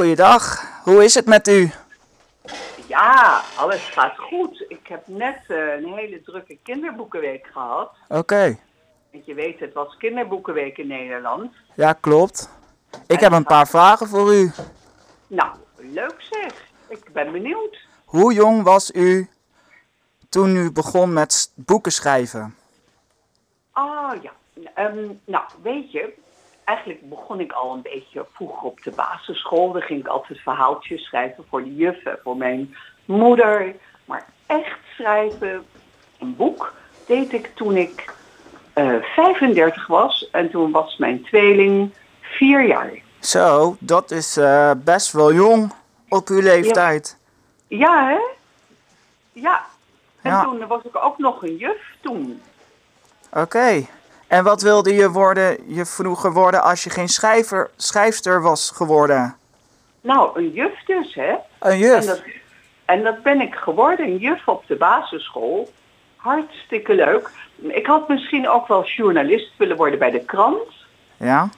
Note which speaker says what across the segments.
Speaker 1: goeiedag. Hoe is het met u?
Speaker 2: Ja, alles gaat goed. Ik heb net eh, een hele drukke kinderboekenweek gehad.
Speaker 1: Oké.
Speaker 2: Want je weet, het was kinderboekenweek in Nederland.
Speaker 1: Ja, klopt. Ik heb een paar vragen voor u.
Speaker 2: Nou, leuk zeg. Ik ben benieuwd.
Speaker 1: Hoe jong was u toen u begon met s- boeken schrijven?
Speaker 2: Oh ja. Ehm, nou, weet je, eigenlijk begon ik al een beetje vroeger op de basisschool. Dan ging ik altijd verhaaltjes schrijven voor de juffen, voor mijn moeder. Maar echt schrijven, een boek, deed ik toen ik eh, 35 was. En toen was mijn tweeling vier jaar.
Speaker 1: Zo, dat is eh, best wel jong op uw leeftijd.
Speaker 2: Ja, hè? Ja. En
Speaker 1: Ja.
Speaker 2: toen was ik ook nog een juf toen.
Speaker 1: Oké. En wat wilde je, worden, je vroeger worden als je geen schrijver, schrijfster was geworden?
Speaker 2: Nou, een juf dus, hè?
Speaker 1: Een
Speaker 2: En dat,
Speaker 1: juf.
Speaker 2: en dat ben ik geworden, een juf op de basisschool. Hartstikke leuk. Ik had misschien ook wel journalist willen worden bij de krant.
Speaker 1: Ja?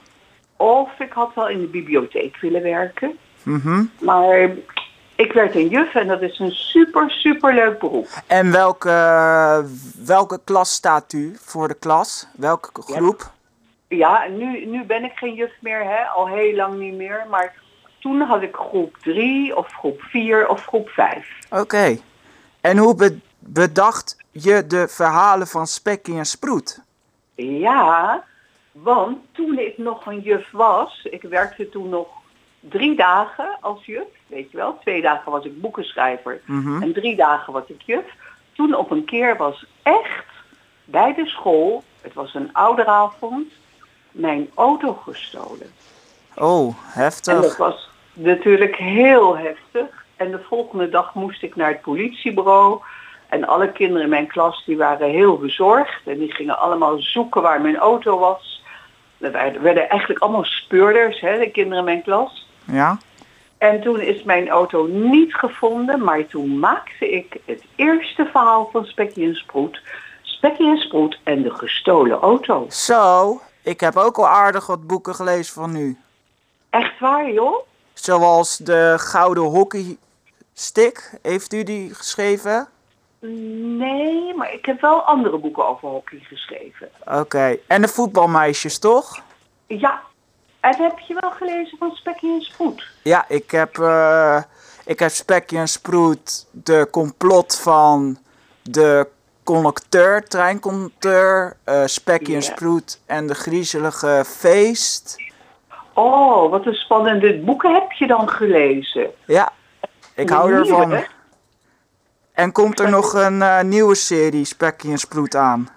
Speaker 2: Of ik had wel in de bibliotheek willen werken.
Speaker 1: Mhm.
Speaker 2: Maar ik werd een juf en dat is een super, super leuk beroep.
Speaker 1: En welke, welke klas staat u voor de klas? Welke groep?
Speaker 2: Ja, nu, nu ben ik geen juf meer, hè? al heel lang niet meer. Maar toen had ik groep 3 of groep 4 of groep 5.
Speaker 1: Oké. En hoe be- bedacht je de verhalen van Spekkie en Sproet?
Speaker 2: Ja, want toen ik nog een juf was, ik werkte toen nog drie dagen als juf, weet je wel. Twee dagen was ik boekenschrijver en drie dagen was ik juf. Toen op een keer was echt bij de school, het was een ouderavond, mijn auto gestolen.
Speaker 1: Oh,
Speaker 2: En dat
Speaker 1: heftig.
Speaker 2: was natuurlijk heel heftig. En de volgende dag moest ik naar het politiebureau. En alle kinderen in mijn klas die waren heel bezorgd. En die gingen allemaal zoeken waar mijn auto was. Er werd- werden eigenlijk allemaal speurders, hè, de kinderen in mijn klas.
Speaker 1: Ja?
Speaker 2: En toen is mijn auto niet gevonden, maar toen maakte ik het eerste verhaal van Spekkie en Sproet. Spekkie en Sproet en de gestolen auto.
Speaker 1: Zo, ik heb ook al aardig wat boeken gelezen van u.
Speaker 2: Echt waar, joh?
Speaker 1: Zoals de Gouden Hockeystick. Heeft u die geschreven?
Speaker 2: Nee, maar ik heb wel andere boeken over hockey geschreven.
Speaker 1: Oké. En de voetbalmeisjes, toch?
Speaker 2: Ja, en heb je wel gelezen van Spekkie en Spoed?
Speaker 1: Ja, ik heb, eh, ik heb Spekje en Sproet de complot van de conducteur, treinconducteur, eh Spekje en
Speaker 2: Ja.
Speaker 1: Sproet en de griezelige feest.
Speaker 2: Oh, wat een spannende boeken heb je dan gelezen.
Speaker 1: Ja, ik hou
Speaker 2: Nieuwe,
Speaker 1: ervan.
Speaker 2: hè?
Speaker 1: En komt er nog een eh, nieuwe serie Spekje en Sproet aan?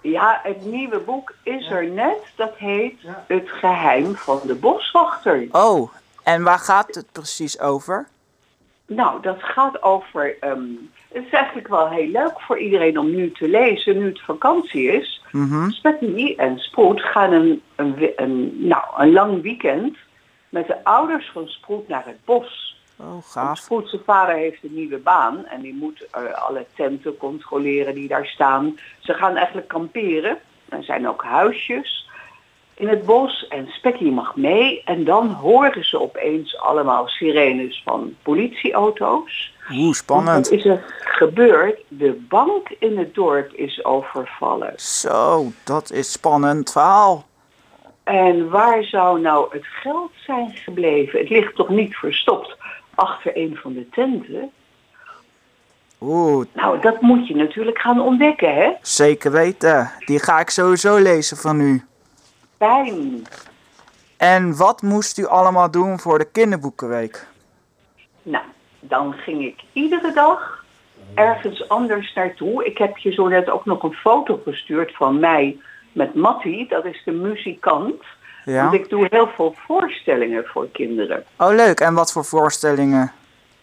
Speaker 2: Ja, het nieuwe boek is er net. Dat heet Het Geheim van de Boswachter.
Speaker 1: Oh, en waar gaat het precies over?
Speaker 2: Nou, dat gaat over... ehm, het is eigenlijk wel heel leuk voor iedereen om nu te lezen, nu het vakantie is. Spekkie en Sproet gaan een, een, we- een, nou, een lang weekend met de ouders van Sproet naar het bos.
Speaker 1: Oh,
Speaker 2: Want
Speaker 1: gaaf.
Speaker 2: Goed, zijn vader heeft een nieuwe baan en die moet eh, alle tenten controleren die daar staan. Ze gaan eigenlijk kamperen. Er zijn ook huisjes in het bos en Spekkie mag mee. En dan horen ze opeens allemaal sirenes van politieauto's.
Speaker 1: Oeh,
Speaker 2: Wat
Speaker 1: spannend.
Speaker 2: is er gebeurd? De bank in het dorp is overvallen.
Speaker 1: Zo, dat is spannend verhaal.
Speaker 2: En waar zou nou het geld zijn gebleven? Het ligt toch niet verstopt achter een van de tenten?
Speaker 1: Oeh,
Speaker 2: Nou, dat moet je natuurlijk gaan ontdekken, hè?
Speaker 1: zeker weten. Die ga ik sowieso lezen van u.
Speaker 2: Pijn.
Speaker 1: En wat moest u allemaal doen voor de kinderboekenweek?
Speaker 2: Nou, dan ging ik iedere dag ergens anders naartoe. Ik heb je zo net ook nog een foto gestuurd van mij met Matti. Dat is de muzikant.
Speaker 1: Ja.
Speaker 2: Want ik doe heel veel voorstellingen voor kinderen.
Speaker 1: Oh, leuk. En wat voor voorstellingen?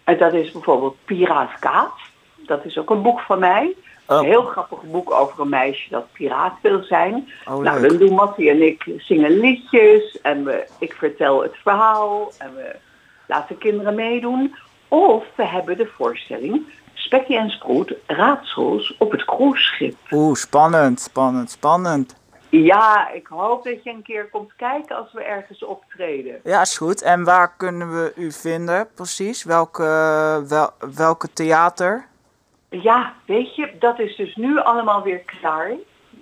Speaker 2: En dat is bijvoorbeeld Piraat Kaat. Dat is ook een boek van mij.
Speaker 1: Oh.
Speaker 2: Een heel grappig boek over een meisje dat piraat wil zijn.
Speaker 1: Oh,
Speaker 2: nou,
Speaker 1: leuk.
Speaker 2: dan doen Mattie en ik zingen liedjes en we, ik vertel het verhaal en we laten kinderen meedoen. Of we hebben de voorstelling Spekkie en Sproet, raadsels op het cruiseschip.
Speaker 1: Oeh, spannend, spannend, spannend.
Speaker 2: Ja, ik hoop dat je een keer komt kijken als we ergens optreden.
Speaker 1: Ja, is goed. En waar kunnen we u vinden precies? Welke, wel, welke theater?
Speaker 2: Ja, weet je, dat is dus nu allemaal weer klaar.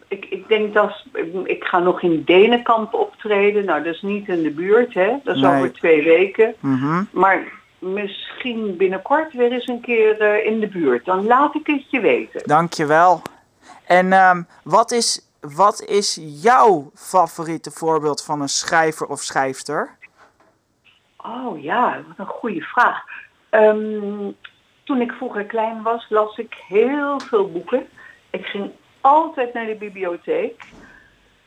Speaker 2: Ik, ik denk dat ik ga nog in Denenkamp optreden. Nou, dat is niet in de buurt, hè? Dat is
Speaker 1: Nee.
Speaker 2: over twee weken.
Speaker 1: Mhm.
Speaker 2: Maar misschien binnenkort weer eens een keer eh, in de buurt. Dan laat ik het je weten.
Speaker 1: Dankjewel. En ehm, wat, is, wat is jouw favoriete voorbeeld van een schrijver of schrijfster?
Speaker 2: Oh ja, wat een goede vraag. Ehm, toen ik vroeger klein was, las ik heel veel boeken. Ik ging altijd naar de bibliotheek.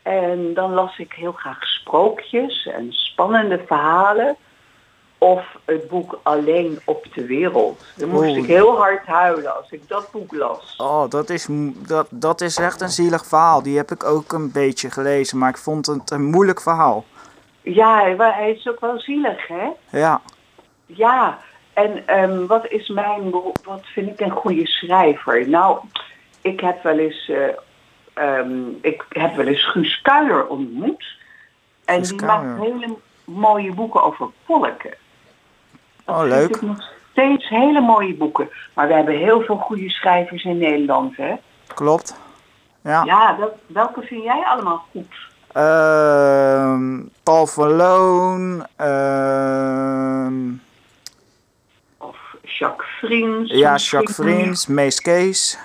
Speaker 2: En dan las ik heel graag sprookjes en spannende verhalen. Of het boek Alleen op de Wereld. Dan moest
Speaker 1: Oeh.
Speaker 2: ik heel hard huilen als ik dat boek las.
Speaker 1: Oh, dat is, mo- dat, dat is echt een zielig verhaal. Die heb ik ook een beetje gelezen, maar ik vond het een moeilijk verhaal.
Speaker 2: Ja, hij wa- hij is ook wel zielig, hè?
Speaker 1: Ja.
Speaker 2: Ja, en ehm, wat is mijn beroep? Wat vind ik een goede schrijver? Nou, ik heb wel eens, eh, ehm, ik heb wel eens Guus Kuijer ontmoet. En
Speaker 1: Guus
Speaker 2: die
Speaker 1: Kuijer.
Speaker 2: maakt hele mooie boeken over volken.
Speaker 1: Oh,
Speaker 2: Vind
Speaker 1: leuk.
Speaker 2: ik nog steeds hele mooie boeken. Maar we hebben heel veel goede schrijvers in Nederland, hè?
Speaker 1: Klopt. Ja.
Speaker 2: Ja, wel- welke vind jij allemaal goed?
Speaker 1: Ehm, Paul van Loon. ehm,
Speaker 2: Of Jacques Vriends?
Speaker 1: ja, Jacques Vriends. Mees Kees.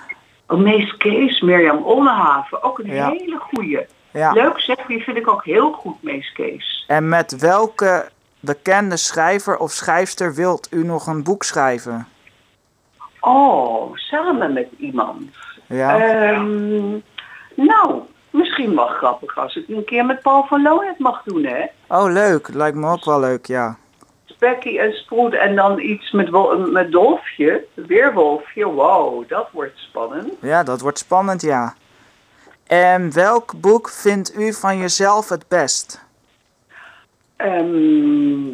Speaker 2: Oh, Mees Kees, Mirjam Onnehaven. Ook een
Speaker 1: Ja.
Speaker 2: hele goede.
Speaker 1: Ja.
Speaker 2: Leuk zeg, die vind ik ook heel goed, Mees Kees.
Speaker 1: En met welke bekende schrijver of schrijfster wilt u nog een boek schrijven?
Speaker 2: Oh, samen met iemand.
Speaker 1: Ja.
Speaker 2: Ehm, nou, misschien wel grappig als ik een keer met Paul van Loon het mag doen, hè?
Speaker 1: Oh, leuk. Lijkt me ook wel leuk, ja.
Speaker 2: Specky en Sproet en dan iets met, wo- met Dolfje, Weerwolfje. Wow, dat wordt spannend.
Speaker 1: Ja, dat wordt spannend, ja. En welk boek vindt u van jezelf het best?
Speaker 2: Ehm,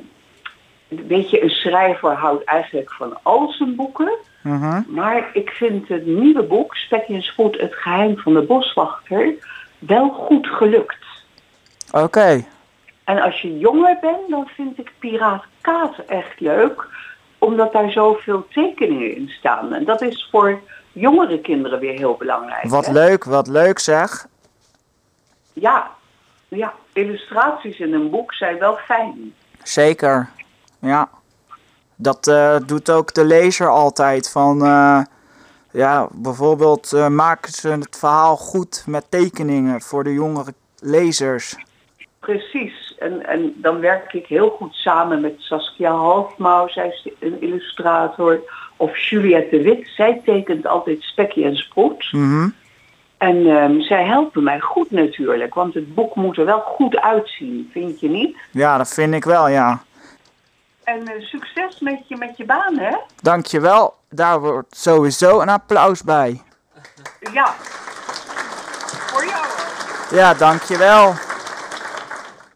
Speaker 2: weet je, een schrijver houdt eigenlijk van al zijn boeken.
Speaker 1: Mhm.
Speaker 2: Maar ik vind het nieuwe boek, Spekje en Spoed, Het Geheim van de Boswachter, wel goed gelukt.
Speaker 1: Oké.
Speaker 2: En als je jonger bent, dan vind ik Piraat Kaat echt leuk, omdat daar zoveel tekeningen in staan. En dat is voor jongere kinderen weer heel belangrijk.
Speaker 1: Wat
Speaker 2: hè?
Speaker 1: leuk, wat leuk zeg.
Speaker 2: Ja, ja, illustraties in een boek zijn wel fijn.
Speaker 1: Zeker. Ja. Dat eh, doet ook de lezer altijd. Van, eh, ja, bijvoorbeeld eh, maken ze het verhaal goed met tekeningen voor de jongere lezers.
Speaker 2: Precies. En, en dan werk ik heel goed samen met Saskia Halfmouw, zij is een illustrator. Of Juliette de Wit, zij tekent altijd spekje en sproet.
Speaker 1: Mhm.
Speaker 2: En ehm, zij helpen mij goed natuurlijk, want het boek moet er wel goed uitzien, vind je niet?
Speaker 1: Ja, dat vind ik wel, ja.
Speaker 2: En eh, succes met je, met je baan, hè?
Speaker 1: Dankjewel. Daar wordt sowieso een applaus bij.
Speaker 2: Ja. Voor jou. hè?
Speaker 1: Ja, dankjewel.